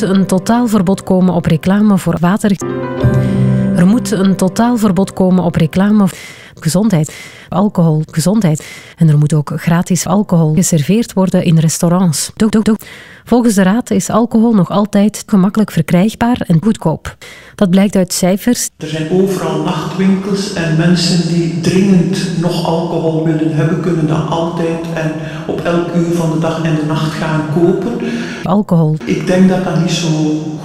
een totaalverbod komen op reclame voor water. Er moet een totaalverbod komen op reclame voor gezondheid, alcohol, gezondheid. En er moet ook gratis alcohol geserveerd worden in restaurants. Doe, doe, doe. Volgens de Raad is alcohol nog altijd gemakkelijk verkrijgbaar en goedkoop. Dat blijkt uit cijfers. Er zijn overal nachtwinkels en mensen die dringend nog alcohol willen hebben, kunnen dat altijd en op elk uur van de dag en de nacht gaan kopen. Alcohol. Ik denk dat dat niet zo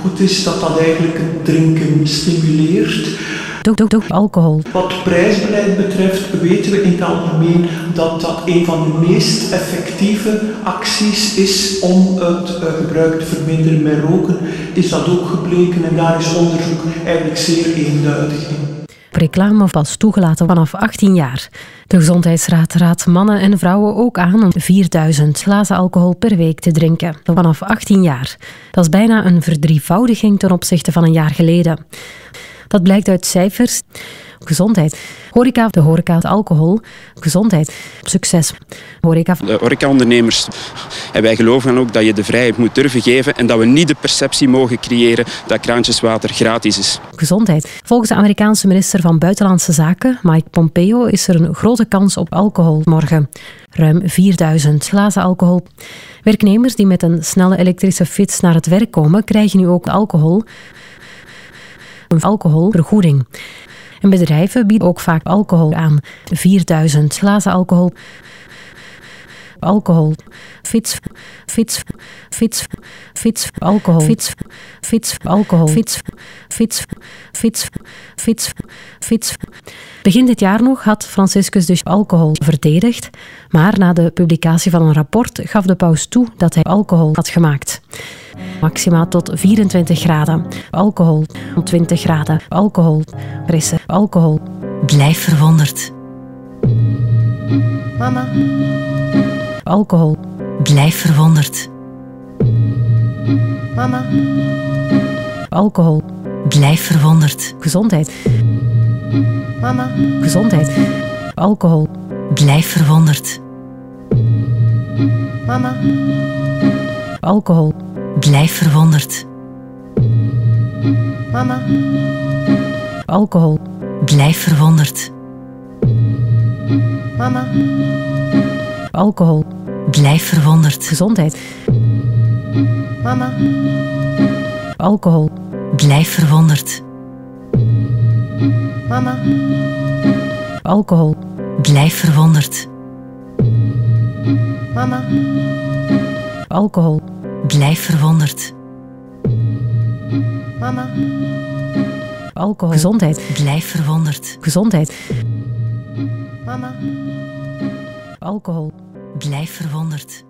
goed is, dat dat eigenlijk het drinken stimuleert. Doe, doe, doe. Alcohol. Wat prijsbeleid betreft weten we in het algemeen dat dat een van de meest effectieve acties is om het eh, gebruik te verminderen met roken. Is dat ook gebleken en daar is onderzoek eigenlijk zeer eenduidig in. Reclame was toegelaten vanaf 18 jaar. De Gezondheidsraad raadt mannen en vrouwen ook aan om 4000 glazen alcohol per week te drinken, vanaf 18 jaar. Dat is bijna een verdrievoudiging ten opzichte van een jaar geleden. Dat blijkt uit cijfers. Gezondheid. Horeca, de horeca, alcohol. Gezondheid. Succes. Horeca. De eh, horecaondernemers. En wij geloven dan ook dat je de vrijheid moet durven geven en dat we niet de perceptie mogen creëren dat kraantjeswater gratis is. gezondheid. Volgens de Amerikaanse minister van Buitenlandse Zaken, Mike Pompeo, is er een grote kans op alcohol morgen. Ruim 4000 glazen alcohol. Werknemers die met een snelle elektrische fiets naar het werk komen, krijgen nu ook alcohol. Een alcoholvergoeding. En bedrijven bieden ook vaak alcohol aan. 4000 glazen alcohol. Alcohol. Fiets. Fiets. Fiets. Fiets. Alcohol. Fiets. Fiets. Alcohol. Fiets. Fiets. Fiets. Fiets. Fiets. Begin dit jaar nog had Franciscus dus alcohol verdedigd. Maar na de publicatie van een rapport gaf de paus toe dat hij alcohol had gemaakt. Maxima tot 24 graden. Alcohol. 20 graden. Alcohol. Frisse. Alcohol. Blijf verwonderd. Alcohol. Blijf verwonderd. Alcohol. Blijf verwonderd. Gezondheid. Mama. Gezondheid. Alcohol. Blijf verwonderd. Alcohol. Blijf verwonderd. Alcohol. Blijf verwonderd. Alcohol. Blijf verwonderd. Gezondheid. Mama. Alcohol. Blijf verwonderd. Alcohol. Blijf verwonderd. Alcohol. Blijf verwonderd. Alcohol. Gezondheid. Blijf verwonderd. Gezondheid. Mama. Alcohol. Blijf verwonderd.